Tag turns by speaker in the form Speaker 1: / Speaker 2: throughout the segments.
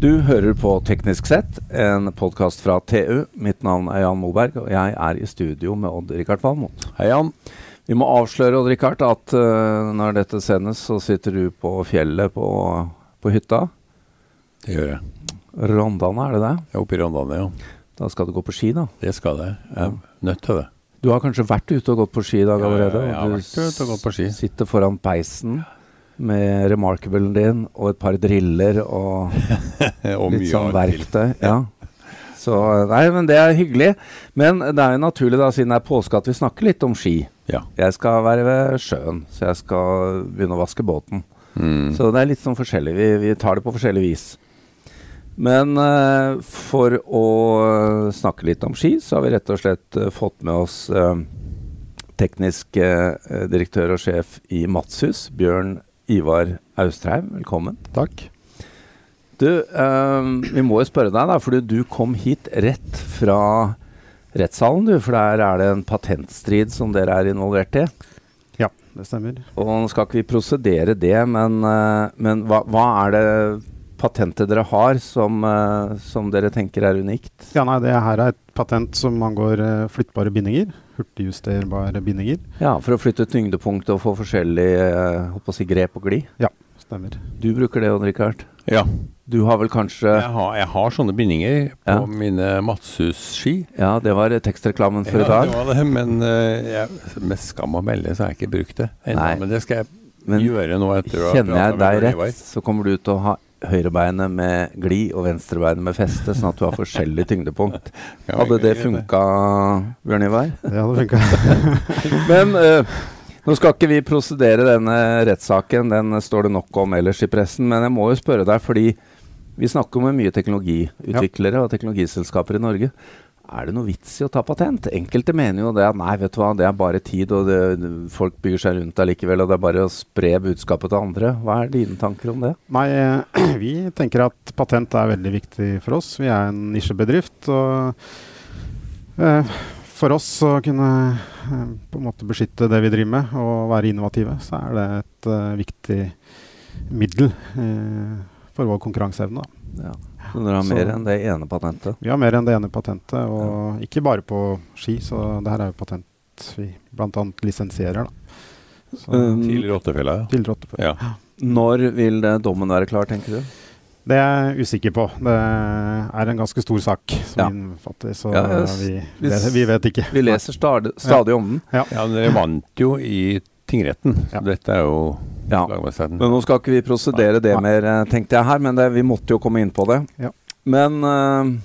Speaker 1: Du hører på Teknisk sett, en podkast fra TU. Mitt navn er Jan Moberg, og jeg er i studio med Odd-Rikard Valmot.
Speaker 2: Hei, Jan.
Speaker 1: Vi må avsløre Odd-Rikard, at eh, når dette sendes, så sitter du på fjellet på, på hytta.
Speaker 2: Det gjør jeg.
Speaker 1: Rondane, er det det?
Speaker 2: Jeg er oppe i Rondane, ja.
Speaker 1: Da skal du gå på ski, da.
Speaker 2: Det skal jeg. Jeg er nødt til det.
Speaker 1: Du har kanskje vært ute og gått på ski i dag
Speaker 2: Ja, ja,
Speaker 1: allerede?
Speaker 2: jeg har
Speaker 1: og du
Speaker 2: vært ute og gått på ski.
Speaker 1: Sitter foran peisen med remarkablen din og et par driller og
Speaker 2: Og
Speaker 1: Litt sånn
Speaker 2: annet til.
Speaker 1: verktøy. Ja. Så, nei, men det er hyggelig. Men det er jo naturlig, da, siden det er påske, at vi snakker litt om ski.
Speaker 2: Ja.
Speaker 1: Jeg skal være ved sjøen, så jeg skal begynne å vaske båten. Så det er litt sånn forskjellig. Vi, vi tar det på forskjellig vis. Men eh, for å eh, snakke litt om ski, så har vi rett og slett eh, fått med oss eh, teknisk eh, direktør og sjef i Madshus, Bjørn Ivar Austrheim. Velkommen.
Speaker 3: Takk.
Speaker 1: Du, ehm, vi må jo spørre deg, da, fordi du kom hit rett fra rettssalen, du. For der er det en patentstrid som dere er involvert i.
Speaker 3: Ja, det stemmer.
Speaker 1: Og nå skal ikke vi prosedere det, men, eh, men hva, hva er det patentet dere har som, eh, som dere tenker er unikt?
Speaker 3: Ja, nei, Det her er et patent som angår eh, flyttbare bindinger. Hurtigjusterbare bindinger.
Speaker 1: Ja, for å flytte tyngdepunktet og få forskjellig eh, håper å si grep og gli.
Speaker 3: Ja, stemmer.
Speaker 1: Du bruker det, Odd Rikard.
Speaker 2: Ja.
Speaker 1: Du har vel kanskje
Speaker 2: Jeg har, jeg har sånne bindinger på
Speaker 1: Ja.
Speaker 2: mine Madshus-ski.
Speaker 1: Ja, det var tekstreklamen for i
Speaker 2: Ja, det
Speaker 1: dag.
Speaker 2: var det, men eh, jeg, med skam å melde så har jeg ikke brukt det ennå.
Speaker 1: Nei.
Speaker 2: Men det skal jeg
Speaker 1: Men
Speaker 2: gjøre nå. etter å ha
Speaker 1: Kjenner jeg
Speaker 2: pratet med
Speaker 1: deg
Speaker 2: Bjørn Ivar.
Speaker 1: rett, så kommer du til å ha høyrebeinet med glid og venstrebeinet med feste, sånn at du har forskjellig tyngdepunkt.
Speaker 2: Ja,
Speaker 1: Hadde
Speaker 2: jeg
Speaker 1: det
Speaker 2: vet
Speaker 1: funka, Bjørn Ivar?
Speaker 3: Det hadde funka.
Speaker 1: Men eh, nå skal ikke vi prosedere denne rettssaken, den står det nok om ellers i pressen. Men jeg må jo spørre deg, fordi vi snakker med mye teknologiutviklere og teknologiselskaper i Norge. Er det noe vits i å ta patent? Enkelte mener jo det at nei, vet du hva, det er bare tid, og det, folk bygger seg rundt allikevel, og det er bare å spre budskapet til andre. Hva er dine tanker om det?
Speaker 3: Nei, eh, vi tenker at patent er veldig viktig for oss. Vi er en nisjebedrift. Og eh, for oss å kunne eh, på en måte beskytte det vi driver med og være innovative, så er det et eh, viktig middel eh, for vår konkurranseevne. da.
Speaker 1: Ja. Så dere har
Speaker 3: Så-
Speaker 1: mer enn det ene patentet?
Speaker 3: Vi har mer enn det ene patentet, og ikke bare på ski. Så det her er jo patent vi bl.a. lisensierer. Da. Så
Speaker 1: Um,
Speaker 2: Til rottefella, ja.
Speaker 3: til rotte på.
Speaker 2: ja.
Speaker 1: Når vil eh, dommen være klar, tenker du?
Speaker 3: Det er jeg usikker på. Det er en ganske stor sak som
Speaker 1: Ja.
Speaker 3: innfatter, så
Speaker 1: Ja, jeg s-
Speaker 3: vi,
Speaker 1: hvis-
Speaker 3: det, vi vet ikke.
Speaker 1: Vi leser stadig, stadig om den.
Speaker 2: ja, men dere vant jo i tingretten, så
Speaker 3: Ja.
Speaker 2: dette er jo
Speaker 1: Ja.
Speaker 2: lagmannsretten.
Speaker 1: Men nå skal ikke vi prosedere det mer, eh, tenkte jeg her, men det, vi måtte jo komme inn på det.
Speaker 3: Ja.
Speaker 1: Men eh,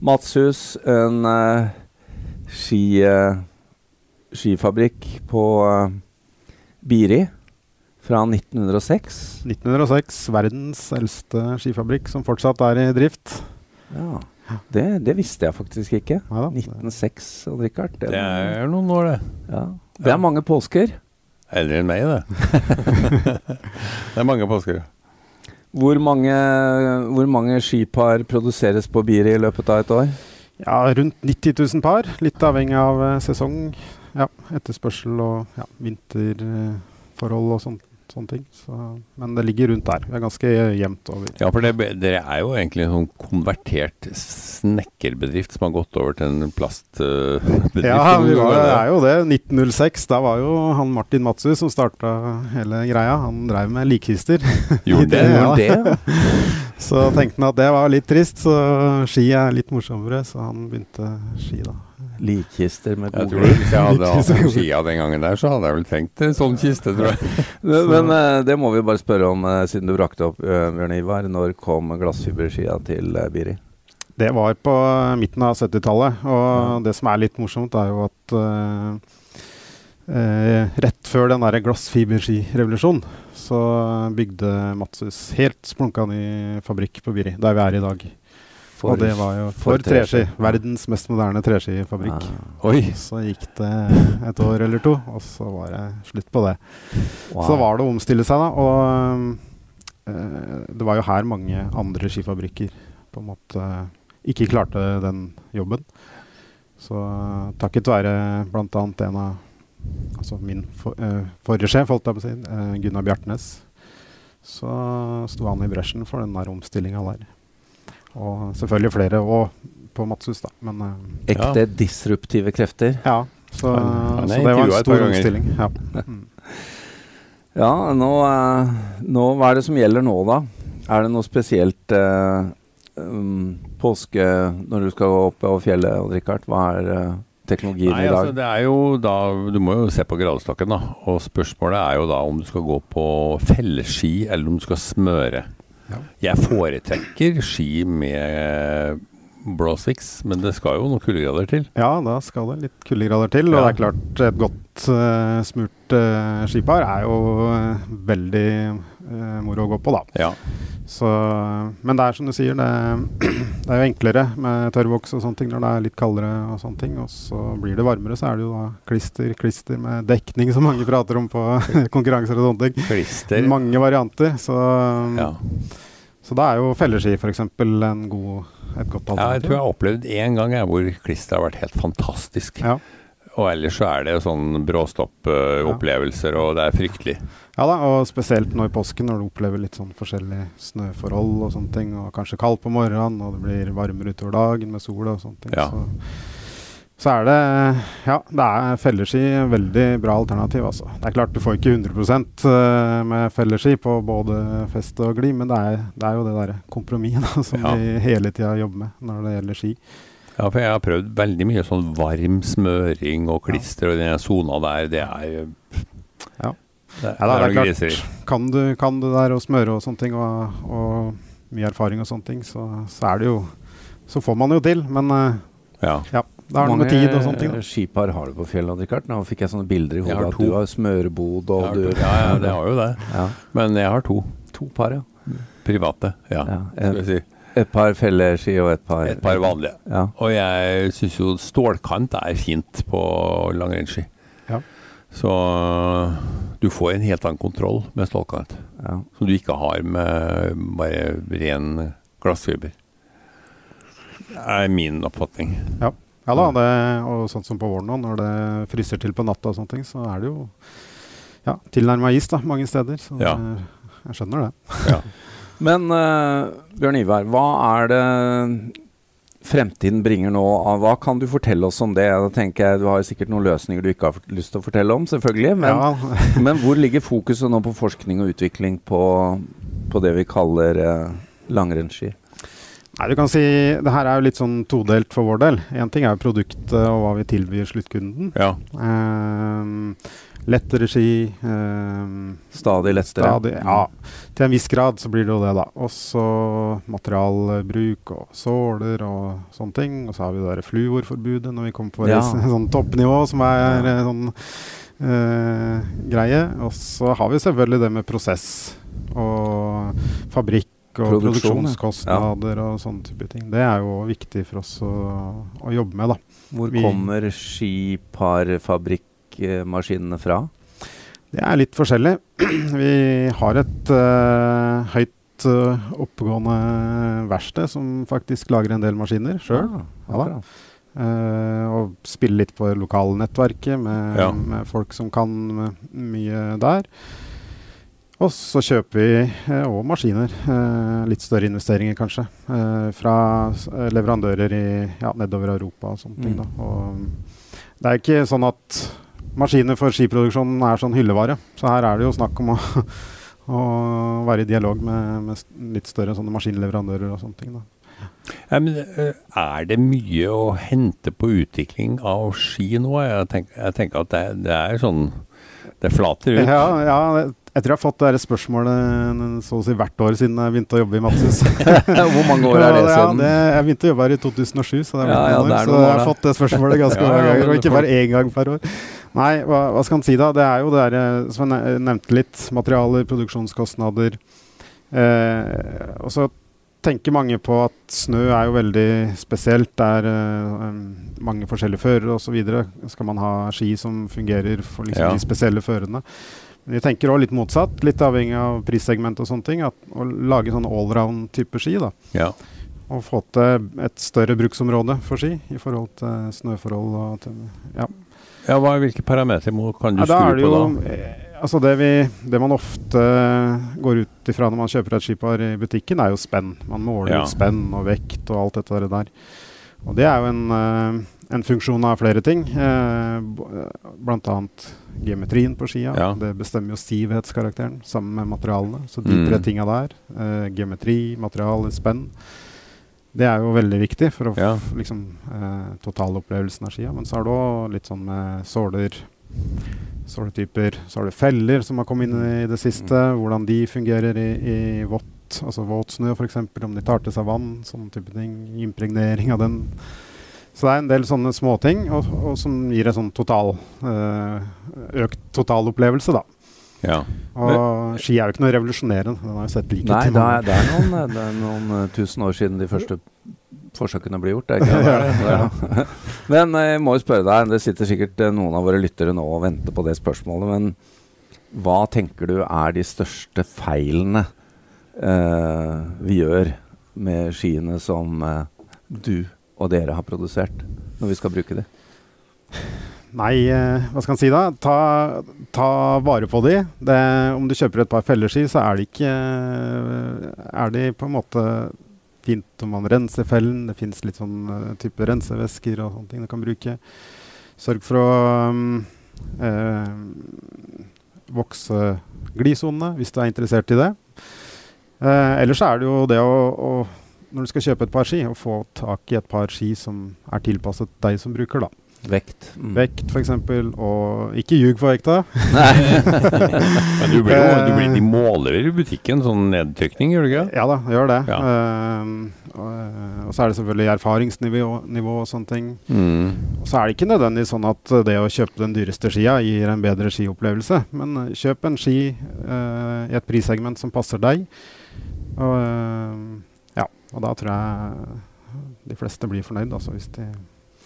Speaker 1: Madshus, en eh, ski, eh, skifabrikk på eh, Biri fra 1906.
Speaker 3: 1906, verdens eldste skifabrikk som fortsatt er i drift.
Speaker 1: Ja. Det, det visste jeg faktisk ikke.
Speaker 3: Neida.
Speaker 1: 1906 og Richard. Det,
Speaker 2: Det er noen år, det.
Speaker 1: ja. det er mange påsker.
Speaker 2: Eldre enn meg, det. det er mange påsker.
Speaker 1: Hvor mange, hvor mange skipar produseres på Biri i løpet av et år?
Speaker 3: Ja, rundt 90 000 par, litt avhengig av eh, sesong, ja, etterspørsel og ja, vinterforhold og sånt, sånne ting. Så, men det ligger rundt der. Vi er ganske eh, jevnt over.
Speaker 2: Ja, for det, dere er jo egentlig en sånn konvertert snekkerbedrift som har gått over til en plastbedrift.
Speaker 3: Ja, vi var, det er jo det. 1906, da var jo han Martin Matsu som starta hele greia. Han drev med likkister.
Speaker 2: Gjorde det?
Speaker 3: Ja.
Speaker 1: Det,
Speaker 3: Så tenkte han at det var litt trist, så ski er litt morsommere, så han begynte ski, da.
Speaker 1: Likkister med
Speaker 2: Jeg
Speaker 1: gode
Speaker 2: tror Hvis jeg hadde hatt en skia den gangen der, så hadde jeg vel trengt en sånn kiste, tror jeg.
Speaker 1: Men, men eh, det må vi bare spørre om, eh, siden du brakte opp eh, Bjørn Ivar. Når kom glassfiberskia til eh, Biri?
Speaker 3: Det var på eh, midten av 70-tallet, og det som er litt morsomt, er jo at eh, eh, rett før den derre glassfiberskirevolusjonen, så bygde Matsus helt splunka ny fabrikk på Biri, der vi er i dag.
Speaker 1: For-
Speaker 3: og det var jo
Speaker 1: for
Speaker 3: for, treski.
Speaker 1: treski.
Speaker 3: Verdens mest moderne treskifabrikk.
Speaker 1: Ah,
Speaker 2: Oi.
Speaker 3: Så gikk det et år eller to, og så var det slutt på det.
Speaker 1: wow.
Speaker 3: Så var det å omstille seg, da. Og eh, det var jo her mange andre skifabrikker på en måte ikke klarte den jobben. Så eh, takket være bl.a. en av altså min for, eh, forrige sjef, holdt jeg på å si, eh, Gunnar Bjartnes, så sto han i bresjen for den der omstillinga der. Og selvfølgelig flere og på Madshus, da. Men eh,
Speaker 1: Ekte disruptive krefter.
Speaker 3: ja. Så,
Speaker 2: Han- han er
Speaker 3: så det
Speaker 2: intervjuet
Speaker 3: var en
Speaker 2: et par
Speaker 3: stor
Speaker 2: ganger.
Speaker 3: omstilling. Ja. Mm.
Speaker 1: Ja, nå, eh, nå Hva er det som gjelder nå, da? Er det noe spesielt eh, um, påske når du skal gå opp over fjellet, Odd Rikard? Hva er eh, teknologien
Speaker 2: Nei,
Speaker 1: i dag?
Speaker 2: altså det er jo da Du må jo se på gradestokken, da. Og spørsmålet er jo da om du skal gå på felleski eller om du skal smøre.
Speaker 3: Ja.
Speaker 2: Jeg foretrekker ski med Blåsix, men det skal jo noen kuldegrader til.
Speaker 3: ja, da skal det litt kuldegrader til. Og
Speaker 2: Ja.
Speaker 3: det er klart, et godt eh, smurt eh, skipar er jo eh, veldig eh, moro å gå på, da.
Speaker 2: Ja.
Speaker 3: Så, men det er som du sier, det, det er jo enklere med tørrvoks og sånne ting når det er litt kaldere og sånne ting. Og så blir det varmere, så er det jo da klister, klister med dekning som mange prater om på konkurranser og sånne ting.
Speaker 2: Klister.
Speaker 3: Mange varianter. Så,
Speaker 2: Ja.
Speaker 3: så da er jo felleski f.eks. en god, et godt
Speaker 2: Ja, jeg tror jeg
Speaker 3: alternativ.
Speaker 2: har opplevd én gang jeg, hvor klisteret har vært helt fantastisk.
Speaker 3: Ja.
Speaker 2: Og ellers så er det jo sånn bråstopp-opplevelser, og det er fryktelig.
Speaker 3: Ja da, og spesielt nå i påsken når du opplever litt sånn forskjellige snøforhold og sånne ting, og kanskje kaldt på morgenen, og det blir varmere utover dagen med sol og sånne ting.
Speaker 2: Ja.
Speaker 3: Så, så er det Ja, det er felleski veldig bra alternativ, altså. Det er klart du får ikke 100 med felleski på både fest og glid, men det er, det er jo det derre kompromisset da, som
Speaker 2: Ja.
Speaker 3: vi hele tida jobber med når det gjelder ski.
Speaker 2: Ja, for jeg har prøvd veldig mye sånn varm smøring og klister, og den sona der, det er
Speaker 3: Ja.
Speaker 2: Det, det
Speaker 3: Ja, da,
Speaker 2: er
Speaker 3: det er
Speaker 2: noen
Speaker 3: klart.
Speaker 2: griser. i.
Speaker 3: kan du, kan du der og smøre og sånne ting, og, og mye erfaring og sånne ting, så, så er det jo Så får man det jo til, men eh,
Speaker 2: Ja.
Speaker 3: ja. Det har noe med tid og sånne ting.
Speaker 1: eh,
Speaker 3: da.
Speaker 1: skipar har du på fjellet, Odd Rikard? Nå fikk jeg sånne bilder i
Speaker 2: Jeg
Speaker 1: hodet.
Speaker 2: har
Speaker 1: At
Speaker 2: to.
Speaker 1: du har smørebod og
Speaker 2: Jeg har
Speaker 1: du
Speaker 2: to- ja, ja, det har jo det.
Speaker 1: Ja,
Speaker 2: Men jeg har to
Speaker 1: To par, ja.
Speaker 2: private. Ja.
Speaker 1: ja.
Speaker 2: Skal
Speaker 1: Et,
Speaker 2: jeg si.
Speaker 1: et par felleski og et par
Speaker 2: Et par vanlige.
Speaker 1: Ja.
Speaker 2: Og jeg syns jo stålkant er fint på langrennsski.
Speaker 3: Ja.
Speaker 2: Så øh, du får en helt annen kontroll med stålkant,
Speaker 1: ja.
Speaker 2: som du ikke har med bare ren glassfiber. Det er min oppfatning.
Speaker 3: Ja da, det, og sånn som på våren nå, når det fryser til på natta og sånne ting, så er det jo ja, tilnærma is da, mange steder. Så
Speaker 2: Ja.
Speaker 3: det- jeg skjønner det.
Speaker 2: Ja.
Speaker 1: Men eh, Bjørn Ivar, hva er det fremtiden bringer nå? av- Hva kan du fortelle oss om det? Da tenker jeg Du har jo sikkert noen løsninger du ikke har fått lyst til å fortelle om, selvfølgelig. Men,
Speaker 3: ja,
Speaker 1: men hvor ligger fokuset nå på forskning og utvikling på, på det vi kaller eh, langrennsski?
Speaker 3: Nei, du kan si Det her er jo litt sånn todelt for vår del. Én ting er jo produktet og hva vi tilbyr sluttkunden.
Speaker 2: ja.
Speaker 3: Ehm, lettere ski. ehm,
Speaker 1: Stadig lettere?
Speaker 3: Stadig, ja. Til en viss grad så blir det jo det, da. Og så materialbruk og såler og sånne ting. Og så har vi det der fluorforbudet når vi kommer på
Speaker 1: Ja.
Speaker 3: ja. sånn toppnivå, som er eh, sånn eh, greie. Og så har vi selvfølgelig det med prosess og fabrikk. Og
Speaker 1: Produksjon, ja.
Speaker 3: produksjonskostnader og sånne type ting. Det er jo viktig for oss å, å jobbe med, da.
Speaker 1: Hvor
Speaker 3: Vi-
Speaker 1: kommer skiparfabrikkmaskinene fra?
Speaker 3: Det er litt forskjellig. Vi har et eh, høyt eh, oppegående verksted som faktisk lager en del maskiner sjøl.
Speaker 1: Ja,
Speaker 3: Ja da.
Speaker 1: Ah, akkurat.
Speaker 3: Eh, og spiller litt på det lokale nettverket med,
Speaker 2: Ja.
Speaker 3: med folk som kan eh, mye der. Og så kjøper vi eh, også maskiner. eh, litt større investeringer, kanskje. eh, fra s- eh, leverandører i, ja, nedover Europa og sånne ting.
Speaker 1: Mm.
Speaker 3: Da. Og det er ikke sånn at maskiner for skiproduksjonen er sånn hyllevare. Så her er det jo snakk om å, å være i dialog med, med s- litt større sånne maskinleverandører og sånne ting. Da.
Speaker 2: Ja, men, eh, er det mye å hente på utvikling av ski nå? Jeg tenker, jeg tenker at det, det er sånn Det flater ut.
Speaker 3: Ja, ja, jeg tror jeg har fått det her spørsmålet eh, så å si hvert år siden jeg begynte å jobbe i Madshus.
Speaker 1: Hvor mange år er det
Speaker 3: Ja,
Speaker 1: siden?
Speaker 3: det, jeg begynte å jobbe her i 2007, så, det er
Speaker 1: Ja,
Speaker 3: blitt
Speaker 1: ja,
Speaker 3: noen
Speaker 1: det er
Speaker 3: år, så
Speaker 1: noen år,
Speaker 3: jeg har
Speaker 1: da.
Speaker 3: fått det spørsmålet ganske
Speaker 2: Ja, ja,
Speaker 3: mange ganger,
Speaker 2: men
Speaker 3: og ikke
Speaker 2: folk-
Speaker 3: bare én gang per år. Nei, hva, hva skal en si da? Det er jo det der, eh, som jeg ne- nevnte litt, materialer, produksjonskostnader. Eh, og så tenker mange på at snø er jo veldig spesielt. Det er eh, em, mange forskjellige førere osv. Skal man ha ski som fungerer for liksom
Speaker 2: Ja.
Speaker 3: de spesielle førene? Men vi tenker òg litt motsatt, litt avhengig av prissegment og sånne ting. At, å lage sånn allround-type ski. da
Speaker 2: Ja.
Speaker 3: og få til et større bruksområde for ski i forhold til snøforhold og til, ja.
Speaker 2: ja hva, hvilke parametere må, kan du
Speaker 3: Ja, da er
Speaker 2: skru
Speaker 3: det
Speaker 2: på
Speaker 3: jo
Speaker 2: da?
Speaker 3: eh, Altså det, vi, det man ofte går ut ifra når man kjøper et skipar i butikken, er jo spenn. Man måler
Speaker 2: Ja.
Speaker 3: ut spenn og vekt og alt dette der. Og det er jo en, eh, en funksjon av flere ting. eh, b- eh, Blant annet geometrien på skia.
Speaker 2: Ja.
Speaker 3: Det bestemmer jo stivhetskarakteren sammen med materialene. Så de tre
Speaker 2: Mm.
Speaker 3: tinga der, eh, geometri, materiale, spenn, det er jo veldig viktig for å
Speaker 2: Ja.
Speaker 3: f liksom, eh, totalopplevelsen av skia. Men så er det òg litt sånn med såler såletyper. Så har du feller som har kommet inn
Speaker 1: Mm.
Speaker 3: i det siste. Hvordan de fungerer i, i vått, altså våt snø f.eks. Om de tar til seg vann, sånne type ting. Impregnering av den. Så det er en del sånne småting og, og som gir en sånn total eh, økt totalopplevelse, da.
Speaker 2: Ja.
Speaker 3: Og ski er jo ikke noe revolusjonerende. Den har jo sett like
Speaker 1: Nei,
Speaker 3: ut. i
Speaker 1: det
Speaker 3: mange
Speaker 1: er, det er noen, eh, det er noen eh, tusen år siden de første forsøkene ble gjort. Er ikke det? Ja. Men eh, jeg må jo spørre deg, det sitter sikkert eh, noen av våre lyttere nå og venter på det spørsmålet, men hva tenker du er de største feilene eh, vi gjør med skiene som eh, du og dere har produsert, når vi skal bruke de?
Speaker 3: Nei, eh, hva skal en si da? Ta, ta vare på de. Det, om du kjøper et par felleski, så er de ikke eh, Er de på en måte fint om man renser fellen. Det fins litt sånn eh, type rensevæsker og sånne ting du kan bruke. Sørg for å mm, eh, vokse glisonene, hvis du er interessert i det. Eh, ellers er det jo det å, å når du skal kjøpe et par ski, å få tak i et par ski som er tilpasset deg som bruker, da.
Speaker 1: Vekt. Mm.
Speaker 3: Vekt, f.eks., og ikke ljug for vekta.
Speaker 2: Men du blir
Speaker 1: Eh.
Speaker 2: jo du blir, De måler vel i butikken sånn nedtrykning, gjør du ikke?
Speaker 3: Ja da, gjør det.
Speaker 2: Ja.
Speaker 3: Ehm, og, eh, og så er det selvfølgelig erfaringsnivå nivå og sånne ting.
Speaker 2: Mm.
Speaker 3: Og så er det ikke nødvendigvis sånn at eh, det å kjøpe den dyreste skia gir en bedre skiopplevelse, men eh, kjøp en ski eh, i et prissegment som passer deg. Og, eh, ja, og da tror jeg de fleste blir fornøyd, altså, hvis de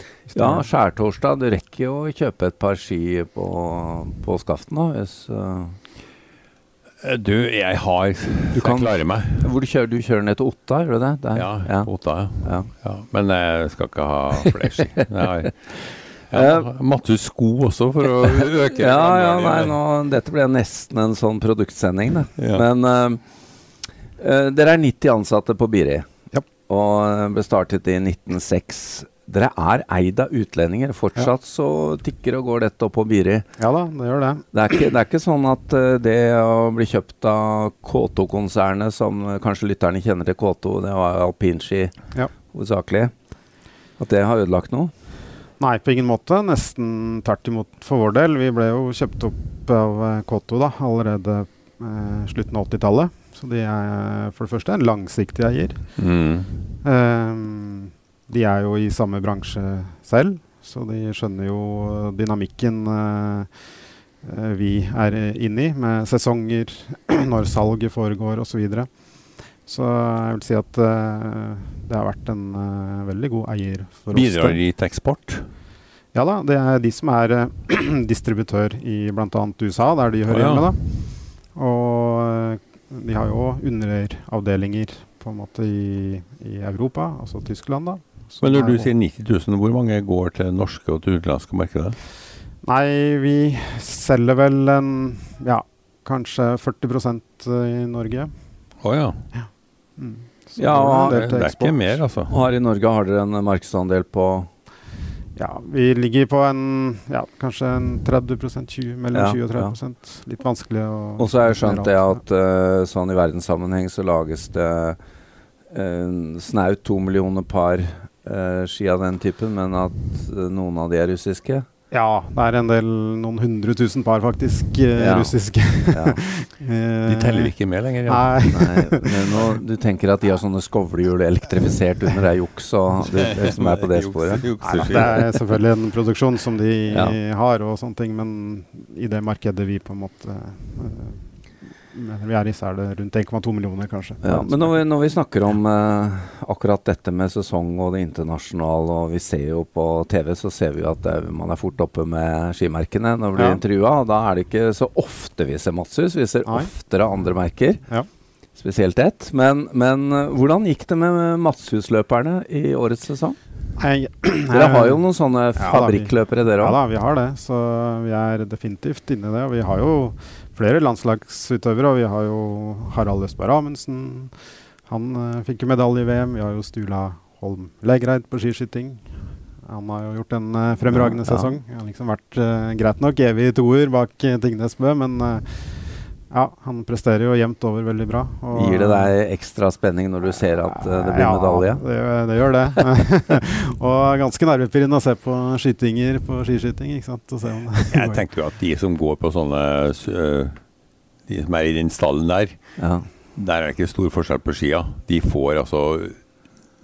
Speaker 3: hvis de
Speaker 1: Ja,
Speaker 3: gjør det.
Speaker 1: skjærtorsdag. Du rekker jo å kjøpe et par ski på, på skaften nå. Hvis, eh,
Speaker 2: Eh, Du, jeg har
Speaker 1: Du kan-
Speaker 2: Jeg klarer meg.
Speaker 1: Hvor du kjører du? kjører ned til Otta, gjør du det? Der?
Speaker 2: Ja,
Speaker 1: ja.
Speaker 2: Otta, ja.
Speaker 1: ja.
Speaker 2: ja. Men jeg skal ikke ha flere ski. Jeg har- Jeg har masse sko også, for å øke
Speaker 1: Eh. ja, ja nei, nå, dette ble nesten en sånn produktsending, det.
Speaker 2: Ja.
Speaker 1: Men eh, eh, dere er 90 ansatte på Biri,
Speaker 3: Ja.
Speaker 1: og eh, ble startet i 1906. Dere er eid av utlendinger. Fortsatt så tikker og går dette opp på Biri.
Speaker 3: ja da, det gjør det.
Speaker 1: Det er, ikke, det er ikke sånn at eh, det å bli kjøpt av K2-konsernet, som eh, kanskje lytterne kjenner til K2, det var alpinski
Speaker 3: Ja.
Speaker 1: hovedsakelig, at det har ødelagt noe?
Speaker 3: Nei, på ingen måte. Nesten tvert imot for vår del. Vi ble jo kjøpt opp av eh, K2 da, allerede eh, slutten av 80-tallet. Så de er for det første en langsiktig eier.
Speaker 2: Mm.
Speaker 3: Ehm, de er jo i samme bransje selv, så de skjønner jo dynamikken eh, eh, vi er inne i, med sesonger, når salget foregår osv. Så, videre. så jeg vil si at eh, det har vært en eh, veldig god eier for oss.
Speaker 2: Bidrar de til eksport?
Speaker 3: Ja da, det er de som er eh, distributør i bl.a. USA, der de hører
Speaker 2: Å, ja.
Speaker 3: hjemme. da. Og eh, de har jo underavdelinger på en måte i, i Europa, altså Tyskland, da. Så
Speaker 2: Men
Speaker 3: det
Speaker 2: når
Speaker 3: er
Speaker 2: du
Speaker 3: jo-
Speaker 2: sier 90 000, hvor mange går til norske og til utenlandske markedet?
Speaker 3: Nei, vi selger vel en ja, kanskje 40 i Norge.
Speaker 2: Å ja.
Speaker 3: Mm. Så
Speaker 1: Ja,
Speaker 3: går
Speaker 2: Det,
Speaker 3: en del til
Speaker 2: er ikke
Speaker 3: eksport.
Speaker 2: mer, altså.
Speaker 1: Og Her i Norge har dere en markedsandel på
Speaker 3: Ja, vi ligger på en ja, kanskje en 30 20, mellom
Speaker 1: Ja,
Speaker 3: 20 og 30 Litt vanskelig å
Speaker 1: Og så har jeg skjønt det
Speaker 3: Ja.
Speaker 1: at eh, sånn i verdenssammenheng så lages det eh, snaut to millioner par eh, ski av den typen, men at eh, noen av de er russiske.
Speaker 3: Ja, det er en del noen hundre tusen par faktisk eh,
Speaker 1: Ja.
Speaker 3: russiske. Eh,
Speaker 1: Ja.
Speaker 2: De teller ikke med lenger. Ja.
Speaker 3: Nei,
Speaker 1: Eh. Nei, men nå, du tenker at de har sånne skovlehjul elektrifisert under ei juks, og du, du som er på det sporet.
Speaker 3: Nei, det er selvfølgelig en produksjon som de
Speaker 1: Ja.
Speaker 3: har og sånne ting, men i det markedet vi på en måte eh, mener vi er i, så er det rundt 1,2 millioner, kanskje.
Speaker 1: Ja, men når vi, når vi snakker om eh, akkurat dette med sesong og det internasjonale, og vi ser jo på TV, så ser vi jo at eh, man er fort oppe med skimerkene når vi blir
Speaker 3: Ja.
Speaker 1: intervjua. Og da er det ikke så ofte vi ser Madshus, vi ser
Speaker 3: Nei.
Speaker 1: oftere andre merker.
Speaker 3: Ja.
Speaker 1: Spesielt ett. Men, men eh, hvordan gikk det med Madshus-løperne i årets sesong?
Speaker 3: Nei,
Speaker 1: Dere har jo noen sånne
Speaker 3: da, vi-
Speaker 1: fabrikkløpere, dere
Speaker 3: Ja
Speaker 1: òg.
Speaker 3: da, vi har det. Så vi er definitivt inne i det. Og vi har jo flere landslagsutøvere. Og vi har jo Harald Østberg Amundsen. Han eh, fikk jo medalje i VM. Vi har jo Stula Holm Legreid på skiskyting. Han har jo gjort en eh, fremragende
Speaker 1: Ja, ja.
Speaker 3: sesong. Han har liksom vært eh, greit nok evig toer bak eh, Tingnes Bø, men eh, ja, han presterer jo jevnt over veldig bra. og-
Speaker 1: Gir det deg ekstra spenning når du ser at eh, det blir
Speaker 3: ja,
Speaker 1: medalje?
Speaker 3: Det, gjør- det gjør det. og ganske nervepirrende å se på skytinger på skiskyting. ikke sant? Og se om
Speaker 2: Jeg tenker jo at de som går på sånne s- øh, De som er i den stallen der,
Speaker 1: Ja.
Speaker 2: der er det ikke stor forskjell på skia. De får altså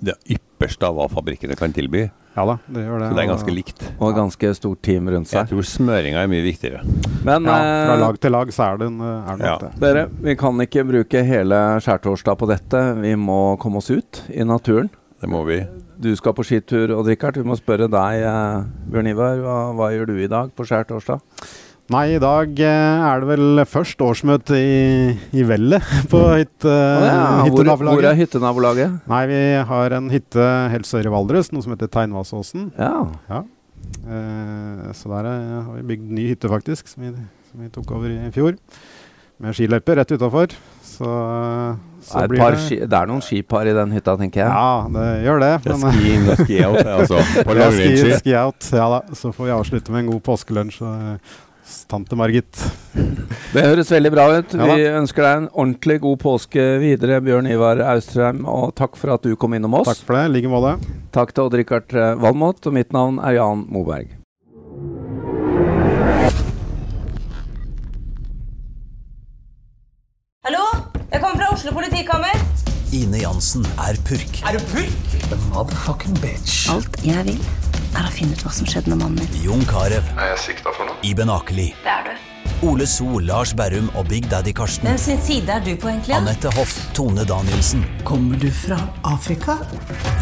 Speaker 2: det ypperste av hva fabrikkene kan tilby.
Speaker 3: Ja da, det gjør det.
Speaker 2: Så det er
Speaker 3: og-
Speaker 2: ganske likt.
Speaker 1: Og ganske stort team rundt
Speaker 2: Jeg
Speaker 1: seg.
Speaker 2: tror smøringa er mye viktigere.
Speaker 1: Men
Speaker 3: Ja, fra
Speaker 1: eh,
Speaker 3: lag til lag så er det en eh, er det
Speaker 2: Ja.
Speaker 3: nok det.
Speaker 1: Dere, vi kan ikke bruke hele skjærtorsdag på dette. Vi må komme oss ut i naturen.
Speaker 2: Det må vi.
Speaker 1: Du skal på skitur og drikke Vi må spørre deg, eh, Bjørn Ivar, hva, hva gjør du i dag på skjærtorsdag?
Speaker 3: Nei, i dag eh, er det vel først årsmøte i, i Vellet på hytte,
Speaker 1: Å ja, hvor, hvor er
Speaker 3: Eh, hyttenabolaget.
Speaker 1: hyttenabolaget?
Speaker 3: Nei, vi har en hytte helt sør i Valdres, noe som heter Teinvassåsen.
Speaker 1: Ja.
Speaker 3: Eh, så der eh, har vi bygd ny hytte, faktisk, som vi, som vi tok over i fjor. Med skiløype rett utafor. Så, eh,
Speaker 1: Det
Speaker 3: så
Speaker 1: er, et par ski, det er noen skipar i den hytta, tenker jeg.
Speaker 3: Ja, det gjør det.
Speaker 2: Det er
Speaker 3: men-
Speaker 2: skiing og ski out, det, altså. På
Speaker 3: Ja, ski,
Speaker 2: langrennsski.
Speaker 3: ski out. Ja da. Så får vi avslutte med en god påskelunsj. eh, s- Tante Margit.
Speaker 1: Det høres veldig bra ut.
Speaker 3: Ja da.
Speaker 1: Vi ønsker deg en ordentlig god påske videre, Bjørn Ivar Austrheim, og takk for at du kom innom oss.
Speaker 3: Takk for det. I like måte.
Speaker 1: Takk til Odd-Rikard eh, Valmot, og mitt navn er Jan Moberg.
Speaker 4: Hallo? Jeg kommer fra Oslo politikammer.
Speaker 5: Ine Jansen er purk. Er du purk? The motherfucking bitch.
Speaker 6: Alt jeg vil, er å finne ut hva som skjedde med mannen min.
Speaker 5: Jon Carew. Er jeg sikta for noe? Iben Akeli.
Speaker 6: Det er du.
Speaker 5: Ole Sol, Lars Berrum og Big Daddy Karsten.
Speaker 4: Hvem sin side er du på, egentlig?
Speaker 5: Anette Hoff, Tone Danielsen,
Speaker 7: Kommer du fra Afrika?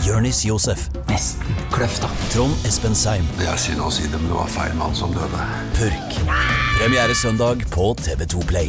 Speaker 5: Jørnis Josef,
Speaker 7: Nesten. Kløfta.
Speaker 5: Trond Espen Seim,
Speaker 8: Det er synd å si det, men det var feil mann som døde.
Speaker 5: Purk. Premiere søndag på TV2 Play.